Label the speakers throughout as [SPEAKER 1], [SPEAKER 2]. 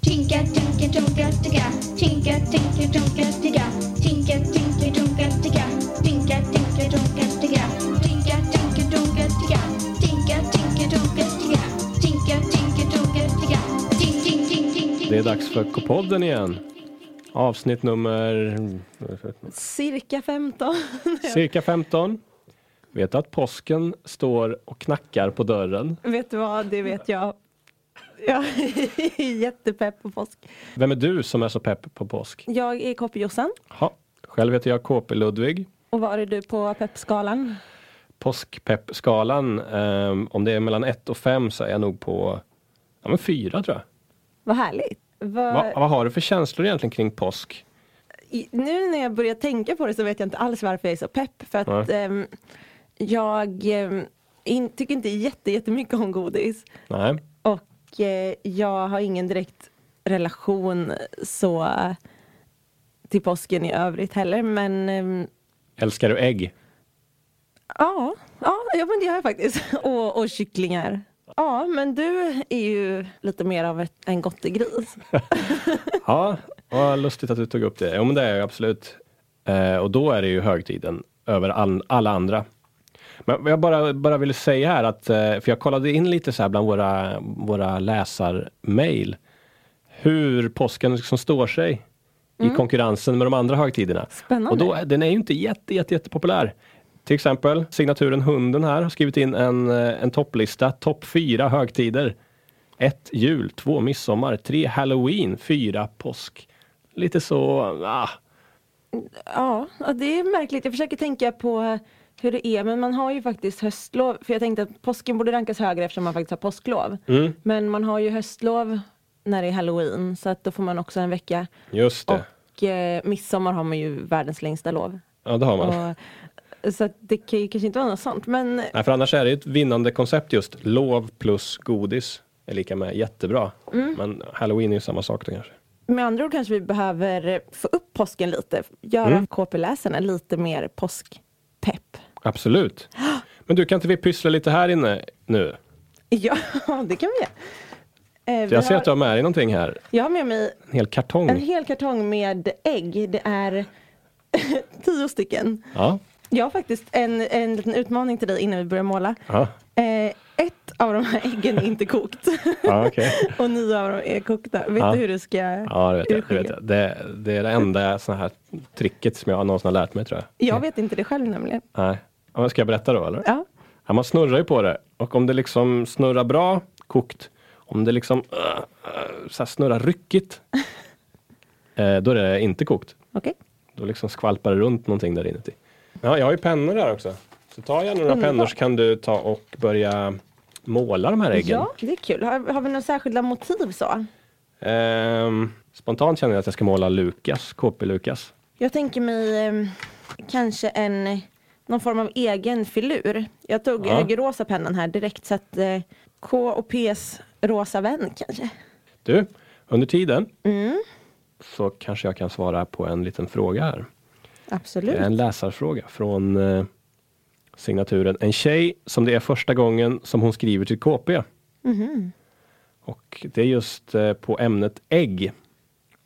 [SPEAKER 1] Tinka, tinka, tonka, ticka. Tinka, tinka, tonka, ticka. Tinka, tinka, tonka, ticka. Tinka, tinka, tonka, ticka. Tinka, tinka, tonka, ticka. Tinka, tinka, tonka, ticka. Tinka, tinka, tonka, ticka. Tink, tink, tink, tink, tink.
[SPEAKER 2] Det är dags för K-podden igen. Avsnitt nummer
[SPEAKER 3] Cirka 15.
[SPEAKER 2] cirka 15. Vet att påsken står och knackar på dörren.
[SPEAKER 3] vet du vad, det vet jag. Jag är jättepepp på påsk.
[SPEAKER 2] Vem är du som är så pepp på påsk?
[SPEAKER 3] Jag är KP-Jossan.
[SPEAKER 2] Ha. Själv heter jag KP Ludvig.
[SPEAKER 3] Och var är du på peppskalan?
[SPEAKER 2] Påskpeppskalan, ehm, om det är mellan 1 och 5 så är jag nog på ja, men 4 tror jag.
[SPEAKER 3] Vad härligt. Vad-
[SPEAKER 2] Va, vad har du för känslor egentligen kring påsk?
[SPEAKER 3] i- nu när jag börjar tänka på det så vet jag inte alls varför jag är så pepp. För att
[SPEAKER 2] Nej.
[SPEAKER 3] ehm, jag ehm, in, tycker inte jätte, jättemycket om godis.
[SPEAKER 2] Nej.
[SPEAKER 3] Och eh, jag har ingen direkt relation så eh, till påsken i övrigt heller. Men ehm,
[SPEAKER 2] Älskar du ägg?
[SPEAKER 3] Ja, ja, ja men det gör jag faktiskt. Och, och kycklingar. Ja, men du är ju lite mer av ett, en gris.
[SPEAKER 2] Ja, vad lustigt att du tog upp det. Jo men det är jag absolut. Eh, och då är det ju högtiden över all, alla andra. Men vad jag bara, bara ville säga här att, eh, för jag kollade in lite så här bland våra, våra läsarmail. Hur påsken liksom står sig i konkurrensen med de andra högtiderna.
[SPEAKER 3] Spännande.
[SPEAKER 2] Och då, är- den är ju inte jätte, jätte, jättepopulär. Till exempel signaturen Hunden här har skrivit in en, eh, en topplista. Topp fyra högtider. Ett jul, två midsommar, tre halloween, fyra påsk. Lite så, ah,
[SPEAKER 3] Ja, ja, det är märkligt. Jag försöker tänka på hur det är, men man har ju faktiskt höstlov. För jag tänkte att påsken borde rankas högre eftersom man faktiskt har påsklov.
[SPEAKER 2] Mm.
[SPEAKER 3] Men man har ju höstlov när det är halloween, så att då får man också en vecka.
[SPEAKER 2] just det.
[SPEAKER 3] Och eh, midsommar har man ju världens längsta lov.
[SPEAKER 2] Ja, det har man.
[SPEAKER 3] Och, så att det kan ju kanske inte vara något sånt, men
[SPEAKER 2] Nej, för annars är det ju ett vinnande koncept just. Lov plus godis är lika med jättebra.
[SPEAKER 3] Mm.
[SPEAKER 2] Men halloween är ju samma sak då kanske.
[SPEAKER 3] Med andra ord kanske vi behöver få upp påsken lite. Göra
[SPEAKER 2] Mm.
[SPEAKER 3] KP-läsarna lite mer påskpepp.
[SPEAKER 2] Absolut. Men du, kan inte vi pyssla lite här inne nu?
[SPEAKER 3] Ja, det kan vi göra. Eh,
[SPEAKER 2] Jag
[SPEAKER 3] vi
[SPEAKER 2] Mm. ser
[SPEAKER 3] har,
[SPEAKER 2] att du har med dig någonting här.
[SPEAKER 3] jag har med mig
[SPEAKER 2] En hel kartong.
[SPEAKER 3] en hel kartong med ägg. Det är tio stycken.
[SPEAKER 2] Ja.
[SPEAKER 3] Jag har faktiskt en, en liten utmaning till dig innan vi börjar måla.
[SPEAKER 2] Ja,
[SPEAKER 3] Eh, ett av de här äggen är inte kokt.
[SPEAKER 2] ja okej.
[SPEAKER 3] Och nio av dem är kokta. Vet
[SPEAKER 2] Ja.
[SPEAKER 3] du hur du ska...
[SPEAKER 2] Ja, det vet jag. Det,
[SPEAKER 3] urskilja?
[SPEAKER 2] vet jag. Det, det är det enda såna här tricket som jag någonsin har lärt mig tror jag.
[SPEAKER 3] Jag vet inte det själv nämligen.
[SPEAKER 2] Nej. Ja, men Ska jag berätta då eller?
[SPEAKER 3] Ja.
[SPEAKER 2] Ja, man snurrar ju på det. Och om det liksom snurrar bra, kokt. Om det liksom äh, äh, så här snurrar ryckigt, eh, då är det inte kokt.
[SPEAKER 3] Okej.
[SPEAKER 2] Då liksom skvalpar det runt någonting där inuti. Ja, jag har ju pennor här också. Så ta gärna några
[SPEAKER 3] Underbart.
[SPEAKER 2] pennor så kan du ta och börja måla de här äggen.
[SPEAKER 3] Ja, det är kul. Har, har vi några särskilda motiv så?
[SPEAKER 2] Ehm, spontant känner jag att jag ska måla Lukas, KP Lukas.
[SPEAKER 3] Jag tänker mig eh, kanske en, någon form av egen filur. Jag tog
[SPEAKER 2] Ja.
[SPEAKER 3] ja. rosa pennan här direkt så att eh, K och P's rosa vän kanske. Mm,
[SPEAKER 2] Du, under tiden så kanske jag kan svara på en liten fråga här.
[SPEAKER 3] Absolut.
[SPEAKER 2] Det är en läsarfråga från eh, signaturen En tjej som det är första gången som hon skriver till KP.
[SPEAKER 3] Mhm.
[SPEAKER 2] Och det är just eh, på ämnet ägg.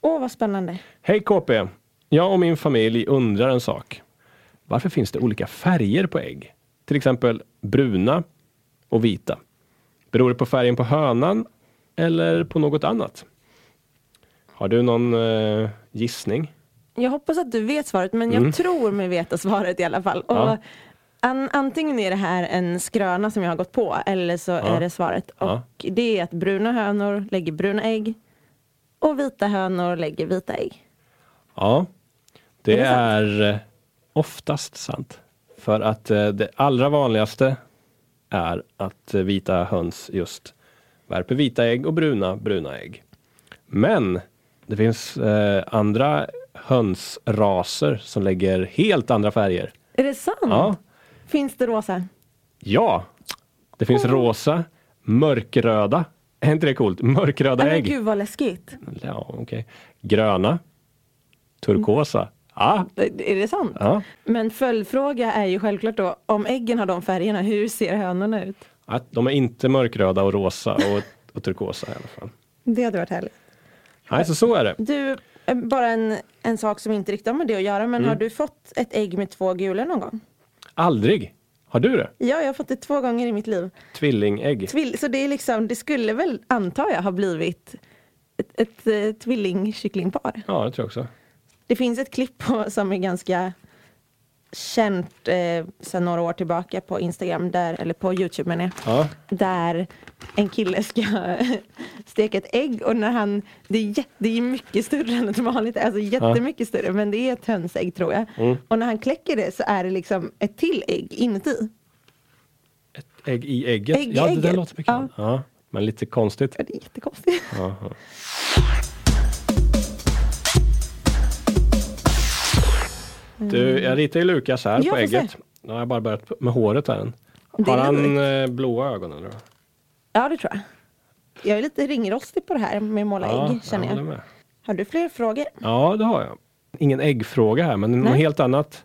[SPEAKER 3] Åh vad spännande.
[SPEAKER 2] Hej KP! Jag och min familj undrar en sak. Varför finns det olika färger på ägg? Till exempel bruna och vita. Beror det på färgen på hönan eller på något annat? Har du någon eh, gissning?
[SPEAKER 3] Jag hoppas att du vet svaret men jag tror mig veta svaret i alla fall. Och
[SPEAKER 2] Mm. Ja.
[SPEAKER 3] an, antingen är det här en skröna som jag har gått på eller så är det svaret. Och
[SPEAKER 2] Ja.
[SPEAKER 3] det är att bruna hönor lägger bruna ägg och vita hönor lägger vita ägg.
[SPEAKER 2] Ja, det
[SPEAKER 3] Är det
[SPEAKER 2] är, eh, oftast sant. För att eh, det allra vanligaste är att eh, vita höns just värper vita ägg och bruna bruna ägg. Men det finns eh, andra hönsraser som lägger helt andra färger.
[SPEAKER 3] Är det sant?
[SPEAKER 2] Ja,
[SPEAKER 3] Finns det rosa?
[SPEAKER 2] ja. det finns rosa, mörkröda. Är inte det coolt? Mörkröda
[SPEAKER 3] Nej, men
[SPEAKER 2] ägg.
[SPEAKER 3] gud vad läskigt.
[SPEAKER 2] Ja, okej. Gröna, turkosa. Ah, Ja,
[SPEAKER 3] Är det sant?
[SPEAKER 2] ja.
[SPEAKER 3] Men följdfråga är ju självklart då, om äggen har de färgerna, hur ser hönorna ut?
[SPEAKER 2] Äh, Att de är inte mörkröda och rosa och, och turkosa i alla fall.
[SPEAKER 3] Det hade varit härligt.
[SPEAKER 2] Nej, så så är det.
[SPEAKER 3] Du, eh, bara en, en sak som inte riktigt har med det att göra, men har du fått ett ägg med två gulor någon gång?
[SPEAKER 2] Aldrig. Har du det?
[SPEAKER 3] Ja, jag har fått det två gånger i mitt liv.
[SPEAKER 2] Tvillingägg?
[SPEAKER 3] Tvill, så det är liksom, det skulle väl, antar jag, ha blivit ett, ett, eh, tvillingkycklingpar.
[SPEAKER 2] Ja, det tror jag också.
[SPEAKER 3] Det finns ett klipp på, som är ganska känt eh, sedan några år tillbaka på Instagram, där, eller på Youtube menar jag.
[SPEAKER 2] Ja.
[SPEAKER 3] Där en kille ska steka ett ägg och när han, det är, jä- det är mycket större än ett vanligt, alltså jättemycket större, men det är ett hönsägg tror jag. Och när han kläcker det så är det liksom ett till ägg inuti.
[SPEAKER 2] Ägg i ägget?
[SPEAKER 3] Ägg i
[SPEAKER 2] ja, det där
[SPEAKER 3] ägget.
[SPEAKER 2] låter bekant. Ja. men lite konstigt.
[SPEAKER 3] Ja, det är jättekonstigt.
[SPEAKER 2] Ja, ja. Du, jag ritar ju Lukas här
[SPEAKER 3] Ja,
[SPEAKER 2] på
[SPEAKER 3] får se.
[SPEAKER 2] ägget. Nu har jag bara börjat med håret här än.
[SPEAKER 3] Det
[SPEAKER 2] Har
[SPEAKER 3] är
[SPEAKER 2] han
[SPEAKER 3] lugnt.
[SPEAKER 2] eh, blåa ögon eller?
[SPEAKER 3] Ja, det tror jag. Jag är lite ringrostig på det här med att måla ägg, känner
[SPEAKER 2] håller
[SPEAKER 3] jag.
[SPEAKER 2] med.
[SPEAKER 3] Har du fler frågor?
[SPEAKER 2] Ja, det har jag. Ingen äggfråga här, men något
[SPEAKER 3] Nej.
[SPEAKER 2] helt annat.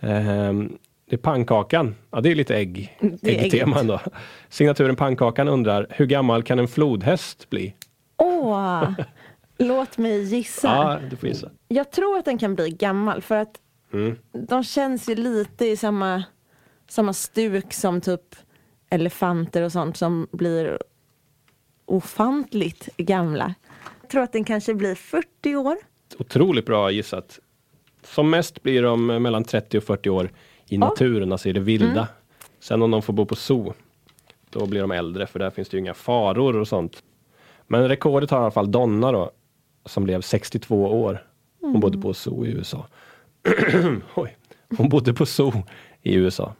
[SPEAKER 2] Ehm, det är pannkakan. Ja, det är lite ägg.
[SPEAKER 3] Mm, Det är
[SPEAKER 2] äggtema ändå. Signaturen Pannkakan undrar, hur gammal kan en flodhäst bli?
[SPEAKER 3] Åh, låt mig gissa.
[SPEAKER 2] Ja, du får gissa.
[SPEAKER 3] Jag tror att den kan bli gammal för att
[SPEAKER 2] Mm.
[SPEAKER 3] de känns ju lite i samma, samma stuk som typ elefanter och sånt som blir ofantligt gamla. Jag tror att den kanske blir 40 år.
[SPEAKER 2] Otroligt bra gissat. Som mest blir de eh, mellan 30 och 40 år i naturen, alltså i det vilda. Sen om de får bo på zoo, då blir de äldre för där finns det ju inga faror och sånt. Men rekordet har i alla fall Donna då, som blev 62 år. Hon bodde på zoo i USA. Oj. Hon bodde på zoo i USA.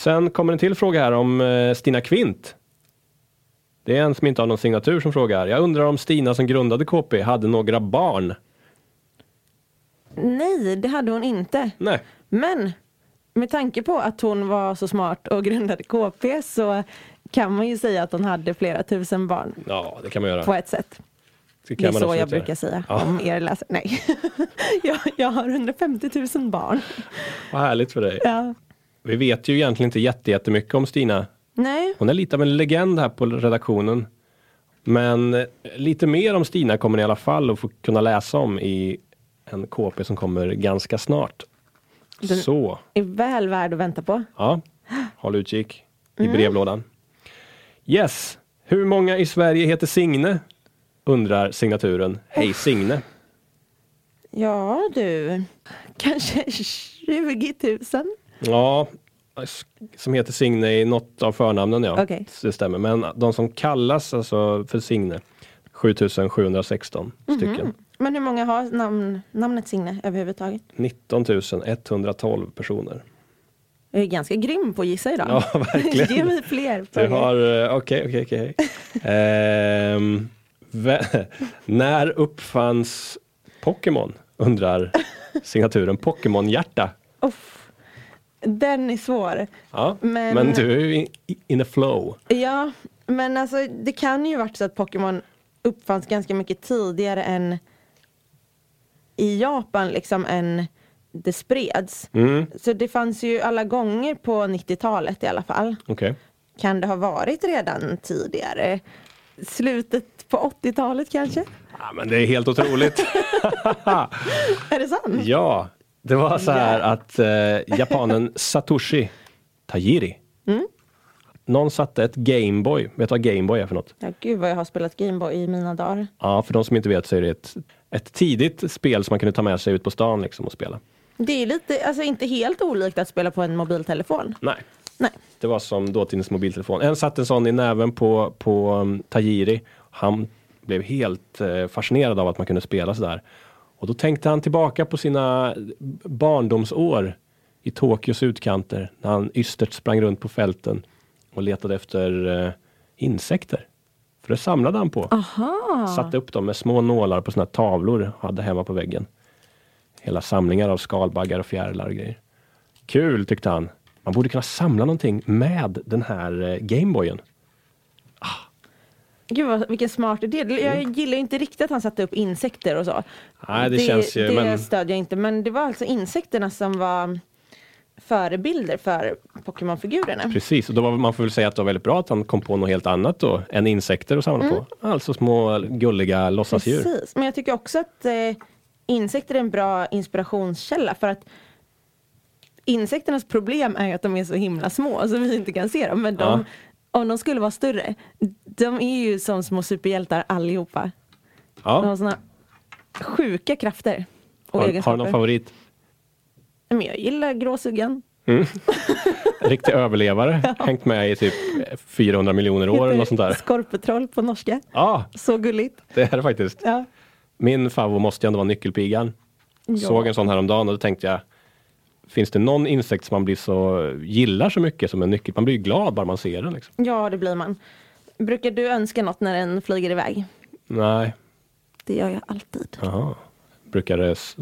[SPEAKER 2] Sen kommer en till fråga här om eh, Stina Kvint. Det är en som inte har någon signatur som frågar. Jag undrar om Stina som grundade KP hade några barn?
[SPEAKER 3] Nej, det hade hon inte.
[SPEAKER 2] Nej.
[SPEAKER 3] Men med tanke på att hon var så smart och grundade KP så kan man ju säga att hon hade flera tusen barn
[SPEAKER 2] Ja, det kan man göra.
[SPEAKER 3] på ett sätt.
[SPEAKER 2] Det,
[SPEAKER 3] Det är
[SPEAKER 2] kan man
[SPEAKER 3] så
[SPEAKER 2] absolut
[SPEAKER 3] jag
[SPEAKER 2] göra.
[SPEAKER 3] brukar säga
[SPEAKER 2] Ja.
[SPEAKER 3] om er läsare. Nej, jag, jag har 150 000 barn.
[SPEAKER 2] Vad härligt för dig.
[SPEAKER 3] Ja.
[SPEAKER 2] Vi vet ju egentligen inte jätte- jättemycket om Stina.
[SPEAKER 3] Nej,
[SPEAKER 2] Hon är lite av en legend här på redaktionen. Men eh, lite mer om Stina kommer ni i alla fall att få kunna läsa om i en KP som kommer ganska snart.
[SPEAKER 3] Den-
[SPEAKER 2] Så,
[SPEAKER 3] är väl värd att vänta på.
[SPEAKER 2] ja. Håll utkik i
[SPEAKER 3] Mm.
[SPEAKER 2] brevlådan. Yes! Hur många i Sverige heter Signe? Undrar signaturen. Hej Signe.
[SPEAKER 3] Ja du, kanske 20 000.
[SPEAKER 2] Ja, som heter Signe i något av förnamnen ja.
[SPEAKER 3] Okej.
[SPEAKER 2] Det stämmer. Men de som kallas alltså för Signe, 7716
[SPEAKER 3] Mhm.
[SPEAKER 2] stycken.
[SPEAKER 3] Men hur många har namn, namnet Signe överhuvudtaget?
[SPEAKER 2] 19 112 personer.
[SPEAKER 3] Jag är ganska grym på att gissa idag.
[SPEAKER 2] Ja, verkligen.
[SPEAKER 3] Ge mig fler.
[SPEAKER 2] Du
[SPEAKER 3] frågor.
[SPEAKER 2] har, eh, okej, okej, okej. Ehm, vä- När uppfanns Pokémon? Undrar signaturen Pokémon-hjärta.
[SPEAKER 3] Uff. Den är svår.
[SPEAKER 2] Ja, men...
[SPEAKER 3] Men-
[SPEAKER 2] du är ju in, in a flow.
[SPEAKER 3] Ja, men alltså det kan ju varit så att Pokémon uppfanns ganska mycket tidigare än i Japan liksom än det spreds.
[SPEAKER 2] Mm,
[SPEAKER 3] Så det fanns ju alla gånger på 90-talet i alla fall.
[SPEAKER 2] okej.
[SPEAKER 3] Kan det ha varit redan tidigare? Slutet på 80-talet kanske?
[SPEAKER 2] Ja, men det är helt otroligt.
[SPEAKER 3] Är det sant?
[SPEAKER 2] Ja, det var så här att eh, japanen Satoshi Tajiri. Någon satte ett Gameboy. Vet du vad Gameboy är för något?
[SPEAKER 3] Ja, gud vad jag har spelat Gameboy i mina dagar.
[SPEAKER 2] Ja, för de som inte vet så är det ett, ett tidigt spel som man kunde ta med sig ut på stan liksom och spela.
[SPEAKER 3] Det är lite, alltså inte helt olikt att spela på en mobiltelefon.
[SPEAKER 2] Nej,
[SPEAKER 3] Nej.
[SPEAKER 2] det var som dåtidens mobiltelefon. En satte en sån i näven på, på um, Tajiri. Han blev helt eh, fascinerad av att man kunde spela sådär. Och då tänkte han tillbaka på sina barndomsår i Tokyos utkanter när han ystert sprang runt på fälten och letade efter eh, insekter. För det samlade han på.
[SPEAKER 3] Aha.
[SPEAKER 2] Satte upp dem med små nålar på såna här tavlor och hade hemma på väggen. Hela samlingar av skalbaggar och fjärilar och grejer. Kul tyckte han. Man borde kunna samla någonting med den här eh, Gameboyen.
[SPEAKER 3] Gud vad, vilken smart idé. Jag gillar ju inte riktigt att han satte upp insekter och så.
[SPEAKER 2] Mm. Nej, det känns ju-
[SPEAKER 3] Det
[SPEAKER 2] men-
[SPEAKER 3] stödjer jag inte. Men det var alltså insekterna som var förebilder för Pokémon-figurerna.
[SPEAKER 2] Precis, och då var, man får väl säga att det var väldigt bra att han kom på något helt annat då än insekter att samla på. Alltså små gulliga låtsasdjur.
[SPEAKER 3] Mm. Precis, men jag tycker också att eh, insekter är en bra inspirationskälla för att insekternas problem är ju att de är så himla små så vi inte kan se dem. Men de, om de skulle vara större, de är ju som små superhjältar allihopa. De har
[SPEAKER 2] Ja.
[SPEAKER 3] såna sjuka krafter och
[SPEAKER 2] Har, har
[SPEAKER 3] egenskaper.
[SPEAKER 2] du någon favorit?
[SPEAKER 3] Nej, Men jag gillar gråsuggan.
[SPEAKER 2] Riktig överlevare, hängt med i typ 400 miljoner år eller något sånt där.
[SPEAKER 3] Skorpetroll på norska.
[SPEAKER 2] Ja,
[SPEAKER 3] Så gulligt.
[SPEAKER 2] det är det faktiskt.
[SPEAKER 3] Ja.
[SPEAKER 2] Min favorit måste ju ändå vara nyckelpigan. Såg en sån häromdagen och då tänkte jag Finns det någon insekt som man blir så, gillar så mycket som en nyckel? Man blir ju glad bara man ser den. Liksom.
[SPEAKER 3] ja, det blir man. Brukar du önska något när den flyger iväg?
[SPEAKER 2] Nej,
[SPEAKER 3] Det gör jag alltid.
[SPEAKER 2] Jaha. Brukar det s-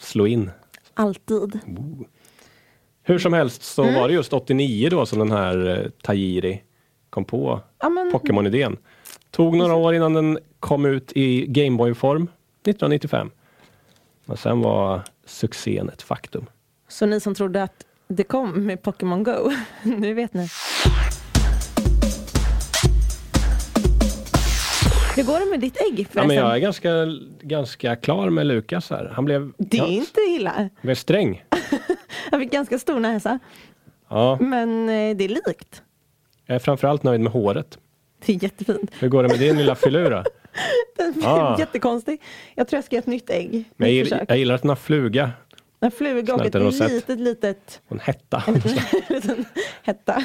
[SPEAKER 2] slå in.
[SPEAKER 3] Alltid.
[SPEAKER 2] Hur som helst så
[SPEAKER 3] Mm.
[SPEAKER 2] var det just 89 då som den här eh, Tajiri kom på
[SPEAKER 3] Ja, men,
[SPEAKER 2] Pokémon-idén. Tog några år innan den kom ut i Gameboy-form 1995. Men sen var succén ett faktum.
[SPEAKER 3] så ni som trodde att det kom med Pokémon Go, nu vet ni. Hur går det med ditt ägg
[SPEAKER 2] Ja,
[SPEAKER 3] förresten?
[SPEAKER 2] men jag är ganska, ganska klar med Lukas här. Han blev,
[SPEAKER 3] Det är
[SPEAKER 2] ja,
[SPEAKER 3] inte illa.
[SPEAKER 2] han blev sträng.
[SPEAKER 3] Jag fick ganska stor näsa.
[SPEAKER 2] Ja,
[SPEAKER 3] Men eh, det är likt.
[SPEAKER 2] jag är framförallt nöjd med håret.
[SPEAKER 3] Det är jättefint.
[SPEAKER 2] Hur går det med din lilla filur då?
[SPEAKER 3] Den är
[SPEAKER 2] Ah.
[SPEAKER 3] jättekonstig. Jag tror jag ska göra ett nytt ägg.
[SPEAKER 2] Men jag,
[SPEAKER 3] Nytt
[SPEAKER 2] gill-
[SPEAKER 3] försök.
[SPEAKER 2] jag gillar att den har fluga
[SPEAKER 3] En fluga och
[SPEAKER 2] Snällt
[SPEAKER 3] ett
[SPEAKER 2] en rosett.
[SPEAKER 3] litet, litet
[SPEAKER 2] och en hetta.
[SPEAKER 3] liten hetta.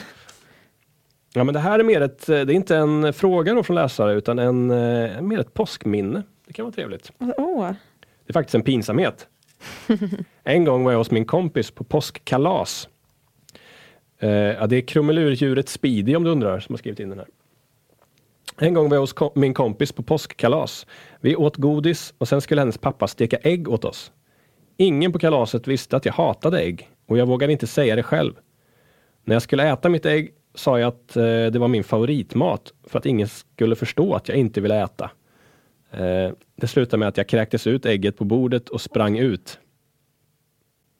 [SPEAKER 2] Ja, men det här är mer ett, eh, det är inte en fråga då från läsare utan en, eh, mer ett påskminne. Det kan vara trevligt.
[SPEAKER 3] Åh,
[SPEAKER 2] Det är faktiskt en pinsamhet. en gång var jag hos min kompis på påskkalas. Eh, ja, det är krumelurdjuret Speedy om du undrar som har skrivit in den här. En gång var jag hos ko- min kompis på påskkalas. Vi åt godis och sen skulle hennes pappa steka ägg åt oss. Ingen på kalaset visste att jag hatade ägg och jag vågade inte säga det själv. När jag skulle äta mitt ägg sa jag att eh, det var min favoritmat för att ingen skulle förstå att jag inte ville äta. Eh, det slutade med att jag kräktes ut ägget på bordet och sprang ut.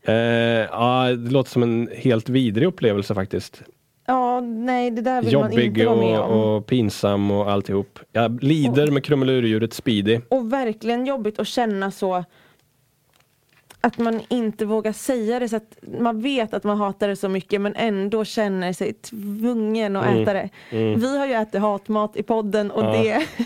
[SPEAKER 2] Eh, ja, det låter som en helt vidrig upplevelse faktiskt.
[SPEAKER 3] ja nej det där vill man inte
[SPEAKER 2] Jobbig
[SPEAKER 3] vara med om. Och...
[SPEAKER 2] och, och pinsam och alltihop. Jag lider med krumelurdjuret Speedy.
[SPEAKER 3] verkligen jobbigt att känna så att man inte vågar säga det så att man vet att man hatar det så mycket men ändå känner sig tvungen att äta det. Vi har ju ätit hatmat i podden och
[SPEAKER 2] Mm. Ja.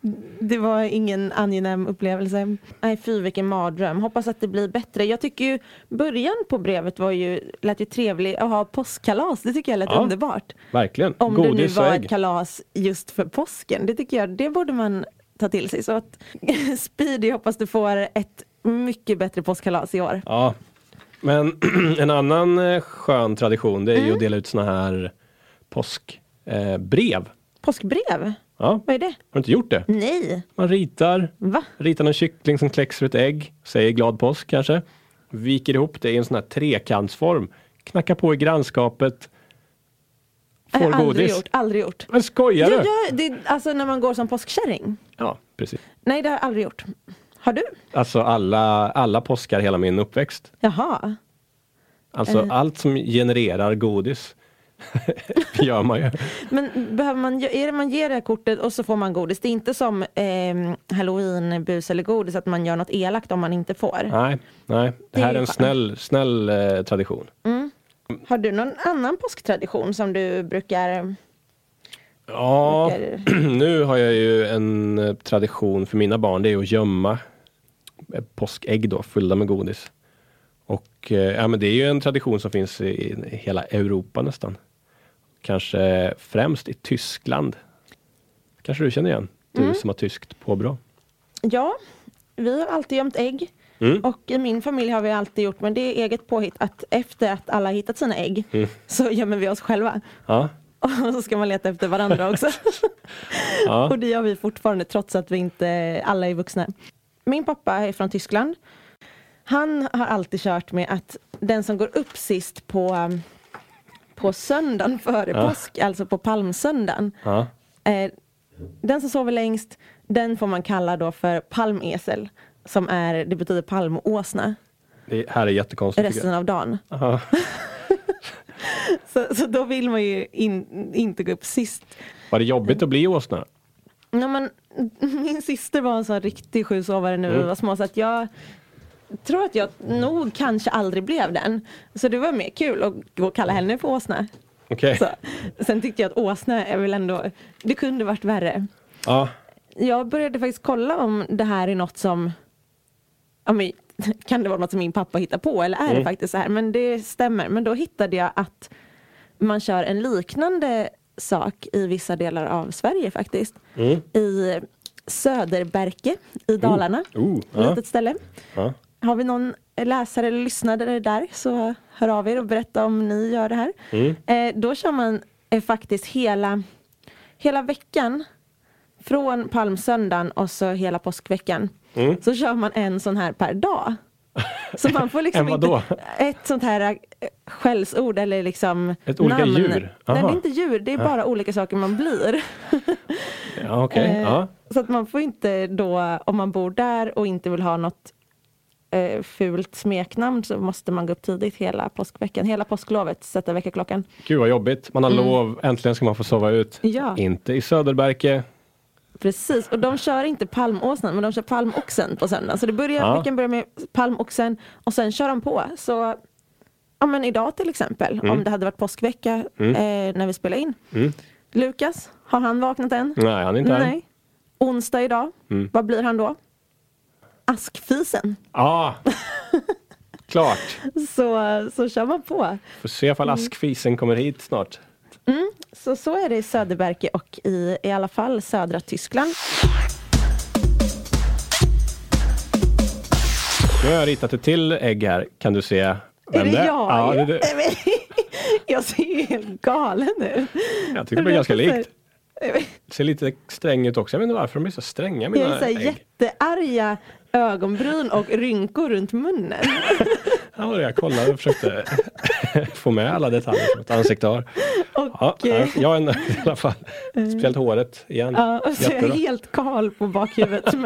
[SPEAKER 3] det, det var ingen angenäm upplevelse. Nej fy vilken mardröm. Hoppas att det blir bättre. Jag tycker ju början på brevet var ju, lät ju trevlig att ha påskkalas. Det tycker jag lät
[SPEAKER 2] Ja.
[SPEAKER 3] underbart.
[SPEAKER 2] Verkligen.
[SPEAKER 3] Om det nu
[SPEAKER 2] Godis och
[SPEAKER 3] var ett
[SPEAKER 2] ägg.
[SPEAKER 3] kalas just för påsken. Det tycker jag, det borde man ta till sig. Så att Speedy hoppas du får ett mycket bättre påskkalas i år.
[SPEAKER 2] Ja. Men en annan eh, skön tradition det är
[SPEAKER 3] Mm.
[SPEAKER 2] ju att dela ut såna här påskbrev. Eh, brev.
[SPEAKER 3] Påskbrev?
[SPEAKER 2] ja. Har
[SPEAKER 3] Vad är det?
[SPEAKER 2] du inte gjort det?
[SPEAKER 3] Nej.
[SPEAKER 2] Man ritar
[SPEAKER 3] Va?
[SPEAKER 2] Ritar någon kyckling som kläcks ur ett ägg, säger glad påsk kanske. Viker ihop det i en sån här trekantsform. Knackar på i grannskapet.
[SPEAKER 3] Jag har
[SPEAKER 2] Får
[SPEAKER 3] aldrig
[SPEAKER 2] godis.
[SPEAKER 3] gjort. Aldrig gjort.
[SPEAKER 2] Men skojar
[SPEAKER 3] Jag
[SPEAKER 2] du?
[SPEAKER 3] gör det, alltså när man går som påskkärring.
[SPEAKER 2] Ja, precis.
[SPEAKER 3] Nej, det har jag aldrig gjort. Har du?
[SPEAKER 2] Alltså alla, alla påskar hela min uppväxt.
[SPEAKER 3] Jaha.
[SPEAKER 2] Alltså
[SPEAKER 3] Eh.
[SPEAKER 2] allt som genererar godis. gör man ju.
[SPEAKER 3] Men behöver man, är det man ger det här kortet och så får man godis? Det är inte som eh, halloween, bus eller godis att man gör något elakt om man inte får.
[SPEAKER 2] Nej, nej. Det
[SPEAKER 3] Det
[SPEAKER 2] här
[SPEAKER 3] är
[SPEAKER 2] är en
[SPEAKER 3] fan.
[SPEAKER 2] snäll, snäll eh, tradition.
[SPEAKER 3] Har du någon annan påsktradition som du brukar
[SPEAKER 2] Ja,
[SPEAKER 3] Brukar-
[SPEAKER 2] nu har jag ju en eh, tradition för mina barn, det är att gömma eh, påskägg då, fyllda med godis. Och eh, ja, men det är ju en tradition som finns i, i hela Europa nästan. Kanske främst i Tyskland. Kanske du känner igen? Du
[SPEAKER 3] Mm.
[SPEAKER 2] som har tyskt påbrå.
[SPEAKER 3] Ja, vi har alltid gömt ägg.
[SPEAKER 2] Mm.
[SPEAKER 3] Och i min familj har vi alltid gjort, men det är eget påhitt, att efter att alla har hittat sina ägg
[SPEAKER 2] Mm.
[SPEAKER 3] så gömmer vi oss själva.
[SPEAKER 2] Ja,
[SPEAKER 3] Och så ska man leta efter varandra också.
[SPEAKER 2] ja.
[SPEAKER 3] Och det gör vi fortfarande trots att vi inte alla är vuxna. Min pappa är från Tyskland. Han har alltid kört med att den som går upp sist på, um, på söndagen före
[SPEAKER 2] Ja.
[SPEAKER 3] påsk, alltså på palmsöndagen,
[SPEAKER 2] ja.
[SPEAKER 3] Eh, den som sover längst, den får man kalla då för palmesel. Som är, det betyder palmåsna
[SPEAKER 2] Det här är jättekonstigt. tycker
[SPEAKER 3] resten av dagen.
[SPEAKER 2] jag. Ja.
[SPEAKER 3] Så, så då vill man ju in, inte gå upp sist.
[SPEAKER 2] Var det jobbigt att bli åsna?
[SPEAKER 3] Ja, men, min syster var en sån riktig sjusovare när vi var små så att jag tror att jag nog kanske aldrig blev den. Så det var mer kul att gå och kalla henne för åsna.
[SPEAKER 2] Okej.
[SPEAKER 3] Så. Sen tyckte jag att åsna är väl ändå, det kunde varit värre.
[SPEAKER 2] Ja.
[SPEAKER 3] Jag började faktiskt kolla om det här är något som, ja, men, kan det vara något som min pappa hittar på eller är det faktiskt så här? Men det stämmer. Men då hittade jag att man kör en liknande sak i vissa delar av Sverige faktiskt. I Söderberke i Dalarna,
[SPEAKER 2] Oh,
[SPEAKER 3] ett
[SPEAKER 2] ja.
[SPEAKER 3] litet ställe.
[SPEAKER 2] ja.
[SPEAKER 3] Har vi någon läsare eller lyssnare där så hör av er och berätta om ni gör det här.
[SPEAKER 2] Mm.
[SPEAKER 3] Eh, då kör man eh, faktiskt hela, hela veckan från palmsöndagen och så hela påskveckan.
[SPEAKER 2] Mm.
[SPEAKER 3] Så kör man en sån här per dag. Så man får liksom
[SPEAKER 2] En vadå?
[SPEAKER 3] inte ett sånt här eh, skällsord eller liksom
[SPEAKER 2] Ett olika
[SPEAKER 3] namn.
[SPEAKER 2] djur?
[SPEAKER 3] Nej, det
[SPEAKER 2] Aha.
[SPEAKER 3] är inte djur, det är bara olika saker man blir.
[SPEAKER 2] ja Okej.
[SPEAKER 3] Eh,
[SPEAKER 2] Ja.
[SPEAKER 3] Så att man får inte då, om man bor där och inte vill ha något eh, fult smeknamn så måste man gå upp tidigt hela påskveckan, hela påsklovet, sätta väckarklockan.
[SPEAKER 2] Gud vad jobbigt. Man har lov. Äntligen ska man få sova ut.
[SPEAKER 3] Mm. Ja.
[SPEAKER 2] Inte i Söderberke.
[SPEAKER 3] Precis, och de kör inte palmåsnan men de kör palmoxen på söndagen. Så det börjar,
[SPEAKER 2] Ja.
[SPEAKER 3] veckan börjar med palmoxen och sen kör de på. Så ja, men idag till exempel,
[SPEAKER 2] Mm.
[SPEAKER 3] om det hade varit påskvecka eh, när vi spelar in. Lukas, har han vaknat än?
[SPEAKER 2] Nej, han är inte Mm. här.
[SPEAKER 3] Nej. Onsdag idag, vad blir han då? Askfisen.
[SPEAKER 2] Ja. Ah! Klart.
[SPEAKER 3] Så, så kör man på.
[SPEAKER 2] Får se
[SPEAKER 3] Mm.
[SPEAKER 2] ifall askfisen kommer hit snart.
[SPEAKER 3] Så, så är det i Söderberke och i, i alla fall södra Tyskland.
[SPEAKER 2] Nu har jag ritat ett till ägg här. Kan du se vem
[SPEAKER 3] Är det jag?
[SPEAKER 2] Ja, det är du.
[SPEAKER 3] Nej, men- Jag ser ju helt galen ut.
[SPEAKER 2] Jag tycker det blir ganska likt.
[SPEAKER 3] Jag vet-
[SPEAKER 2] Ser lite sträng ut också. Jag vet inte varför de är så stränga
[SPEAKER 3] Jag har
[SPEAKER 2] mina
[SPEAKER 3] så här
[SPEAKER 2] ägg.
[SPEAKER 3] jättearga ögonbryn och rynkor runt munnen.
[SPEAKER 2] Ja, jag kollade och försökte få med alla detaljer som ett ansikte har. Ja,
[SPEAKER 3] Och, eh,
[SPEAKER 2] nej, jag är nöjd i alla fall. Speciellt håret igen.
[SPEAKER 3] Mm. ja, och så är jag
[SPEAKER 2] Jättebra.
[SPEAKER 3] helt kal på bakhuvudet. Men,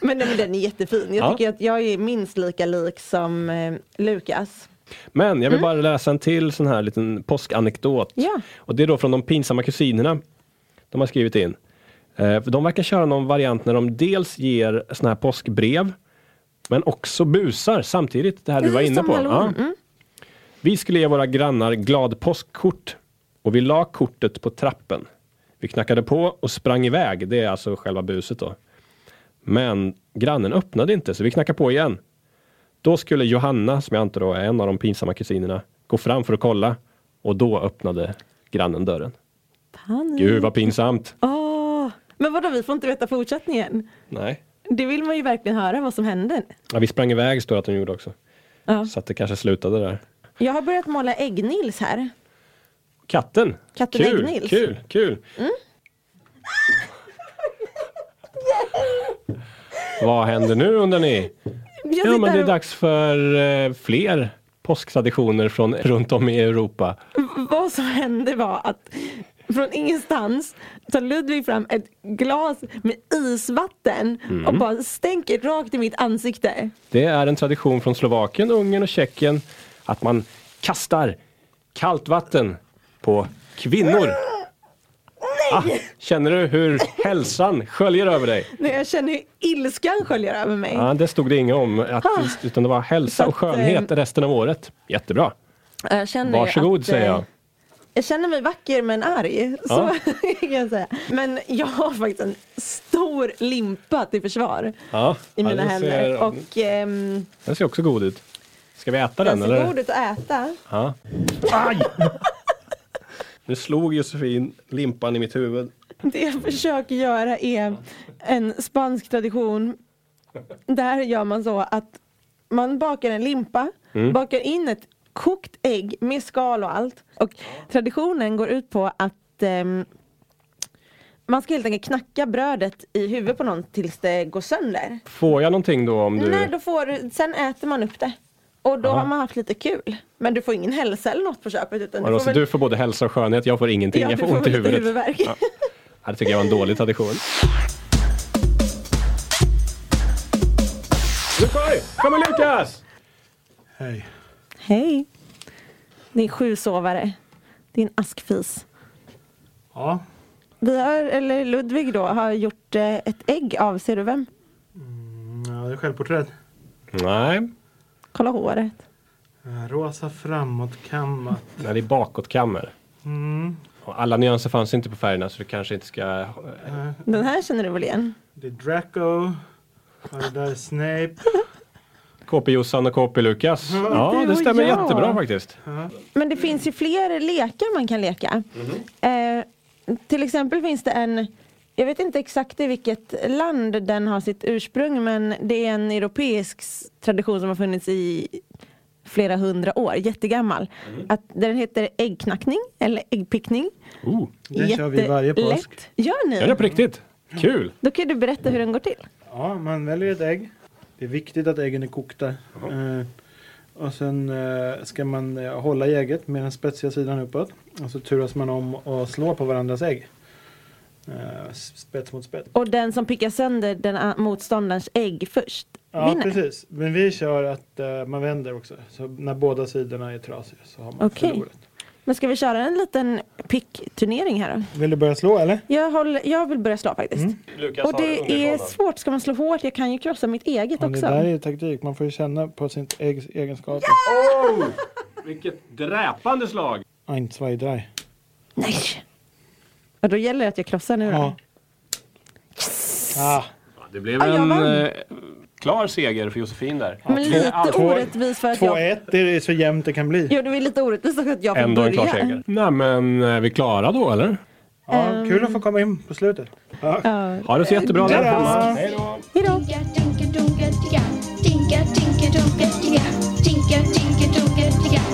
[SPEAKER 3] men, nej, men den är jättefin. Jag
[SPEAKER 2] Ja.
[SPEAKER 3] tycker att jag är minst lika lik som eh, Lukas.
[SPEAKER 2] Men jag vill bara läsa en till sån här liten påskanekdot.
[SPEAKER 3] Ja.
[SPEAKER 2] Och det är då från de pinsamma kusinerna. De har skrivit in. Eh, för de verkar köra någon variant när de dels ger såna här påskbrev men också busar samtidigt. Det här du
[SPEAKER 3] Ja,
[SPEAKER 2] var
[SPEAKER 3] just
[SPEAKER 2] inne
[SPEAKER 3] som
[SPEAKER 2] på.
[SPEAKER 3] halloween.
[SPEAKER 2] Vi skulle ge våra grannar glad påskkort och vi la kortet på trappen. Vi knackade på och sprang iväg. Det är alltså själva buset då. Men grannen öppnade inte så vi knackade på igen. Då skulle Johanna, som jag antar då är en av de pinsamma kusinerna, gå fram för att kolla och då öppnade grannen dörren.
[SPEAKER 3] Fan.
[SPEAKER 2] Gud vad pinsamt!
[SPEAKER 3] Åh. Men vadå, vi får inte veta fortsättningen?
[SPEAKER 2] Nej.
[SPEAKER 3] Det vill man ju verkligen höra vad som hände.
[SPEAKER 2] Ja, vi sprang iväg står det att de gjorde också.
[SPEAKER 3] Ja.
[SPEAKER 2] Så att det kanske slutade där.
[SPEAKER 3] Jag har börjat måla äggnils här.
[SPEAKER 2] Katten!
[SPEAKER 3] Katten Mm.
[SPEAKER 2] kul,
[SPEAKER 3] Äggnils.
[SPEAKER 2] kul, kul! vad händer nu undrar ni?
[SPEAKER 3] Jag
[SPEAKER 2] Ja
[SPEAKER 3] sitter
[SPEAKER 2] men det
[SPEAKER 3] här
[SPEAKER 2] är
[SPEAKER 3] och-
[SPEAKER 2] dags för eh, fler påsktraditioner från runt om i Europa.
[SPEAKER 3] Vad som hände var att från ingenstans tar Ludvig fram ett glas med isvatten
[SPEAKER 2] Mm.
[SPEAKER 3] och bara stänker rakt i mitt ansikte.
[SPEAKER 2] Det är en tradition från Slovakien, Ungern och Tjeckien att man kastar kallt vatten på kvinnor. Ah, känner du hur hälsan sköljer över dig?
[SPEAKER 3] När jag känner hur ilskan sköljer över mig.
[SPEAKER 2] Ja, det stod det inget om, att, utan det var
[SPEAKER 3] Ah. Så
[SPEAKER 2] hälsa
[SPEAKER 3] att, eh,
[SPEAKER 2] och skönhet resten av året. Jättebra.
[SPEAKER 3] Jag känner ju
[SPEAKER 2] Varsågod
[SPEAKER 3] att,
[SPEAKER 2] säger
[SPEAKER 3] eh,
[SPEAKER 2] jag.
[SPEAKER 3] Jag känner mig vacker men arg. Så kan jag säga. Men jag har faktiskt en stor limpa till försvar
[SPEAKER 2] Ja,
[SPEAKER 3] i mina
[SPEAKER 2] den
[SPEAKER 3] händer.
[SPEAKER 2] Ser,
[SPEAKER 3] Och ehm,
[SPEAKER 2] Den ser också god ut. Ska vi äta den,
[SPEAKER 3] den ser
[SPEAKER 2] eller?
[SPEAKER 3] god ut att äta.
[SPEAKER 2] Ja. Aj! nu slog Josefin limpan i mitt huvud.
[SPEAKER 3] Det jag försöker göra är en spansk tradition. Där gör man så att man bakar en limpa,
[SPEAKER 2] Mm.
[SPEAKER 3] bakar in ett kokt ägg med skal och allt. Och traditionen går ut på att ehm, man ska helt enkelt knacka brödet i huvudet på någon tills det går sönder.
[SPEAKER 2] Får jag någonting då om du...
[SPEAKER 3] Nej, då får, du- sen äter man upp det. Och då
[SPEAKER 2] Aha.
[SPEAKER 3] har man haft lite kul. Men du får ingen hälsa eller något på köpet. Utan
[SPEAKER 2] Vadå, så
[SPEAKER 3] väl-
[SPEAKER 2] Alltså, du får både hälsa och skönhet, jag får ingenting.
[SPEAKER 3] ja,
[SPEAKER 2] jag
[SPEAKER 3] du
[SPEAKER 2] får ont i
[SPEAKER 3] väl lite
[SPEAKER 2] huvudet.
[SPEAKER 3] huvudvärk.
[SPEAKER 2] Ja. Ja, det tycker jag var en dålig tradition. Nu kör vi! Kommer Lukas!
[SPEAKER 4] Hej.
[SPEAKER 3] Hej. Ni är sjusovare. Din askfis.
[SPEAKER 4] Ja.
[SPEAKER 3] Vi har, eller Ludvig då, har gjort eh, ett ägg av, ser du vem?
[SPEAKER 4] Mm, ja, det är självporträtt.
[SPEAKER 2] Nej,
[SPEAKER 3] Kolla håret.
[SPEAKER 4] Eh, Rosa framåtkammat.
[SPEAKER 2] Nej, det är bakåtkammer.
[SPEAKER 4] Mm.
[SPEAKER 2] Och alla nyanser fanns inte på färgerna så du kanske inte ska...
[SPEAKER 4] eh,
[SPEAKER 3] Den här känner du väl igen?
[SPEAKER 4] Det är Draco. Ja, det där är Snape.
[SPEAKER 2] KP-Jossan och KP-Lukas. Ja,
[SPEAKER 3] Du
[SPEAKER 2] det
[SPEAKER 3] och
[SPEAKER 2] stämmer
[SPEAKER 3] jag.
[SPEAKER 2] jättebra faktiskt.
[SPEAKER 3] Men det finns ju fler lekar man kan leka. Eh, till exempel finns det en, jag vet inte exakt i vilket land den har sitt ursprung men det är en europeisk s- tradition som har funnits i flera hundra år, jättegammal. Att den heter äggknackning eller äggpickning.
[SPEAKER 2] Oh,
[SPEAKER 4] Den kör vi varje påsk.
[SPEAKER 3] Jättelätt. Gör
[SPEAKER 2] är det
[SPEAKER 3] ni?
[SPEAKER 2] på riktigt? Kul!
[SPEAKER 3] Då kan du berätta hur den går till.
[SPEAKER 4] Ja, man väljer ett ägg. Det är viktigt att äggen är kokta. Eh, och sen eh, ska man eh, hålla i ägget med den spetsiga sidan uppåt. Och så turas man om och slår på varandras ägg. Eh, s- spets mot spets.
[SPEAKER 3] Och den som pickar sönder den a- motståndarens ägg först
[SPEAKER 4] Ja,
[SPEAKER 3] vinner.
[SPEAKER 4] precis. Men vi kör att eh, man vänder också. Så när båda sidorna är trasiga så har man
[SPEAKER 3] Okej.
[SPEAKER 4] förlorat.
[SPEAKER 3] Men ska vi köra en liten pickturnering här då?
[SPEAKER 4] Vill du börja slå eller?
[SPEAKER 3] Jag, håller, jag vill börja slå faktiskt.
[SPEAKER 4] Mm.
[SPEAKER 2] Lukas
[SPEAKER 3] Och det är svårt, ska man slå hårt? Jag kan ju krossa mitt eget
[SPEAKER 4] Ja,
[SPEAKER 3] också.
[SPEAKER 4] Det där är taktik. Man får ju känna på sin äggs egenskaper.
[SPEAKER 2] Oh, vilket dräpande slag!
[SPEAKER 4] Ein, zwei, drei.
[SPEAKER 3] Nej! Och då gäller det att jag krossar nu då.
[SPEAKER 4] Ja. Ah,
[SPEAKER 2] Det blev
[SPEAKER 3] Ja, jag
[SPEAKER 2] en
[SPEAKER 3] vann.
[SPEAKER 2] eh, klar seger för Josefin där.
[SPEAKER 3] Men lite
[SPEAKER 2] allt-
[SPEAKER 3] orättvist för att jag...
[SPEAKER 4] 2-1, det är så jämnt det kan bli.
[SPEAKER 3] Jo, det är lite orättvist att jag får
[SPEAKER 2] Ändå en
[SPEAKER 3] börja.
[SPEAKER 2] klar seger. Nej men är vi klara då eller?
[SPEAKER 4] Ja, kul
[SPEAKER 3] ehm.
[SPEAKER 4] att få komma in på slutet. Ja.
[SPEAKER 3] Ja.
[SPEAKER 2] Ha det så jättebra
[SPEAKER 4] Tja då.
[SPEAKER 2] där
[SPEAKER 3] Hejdå!
[SPEAKER 1] Tinka, tinka, dunka, tigga. Tinka, tinka, dunka, tigga. Tinka, tinka, dunka, tigga.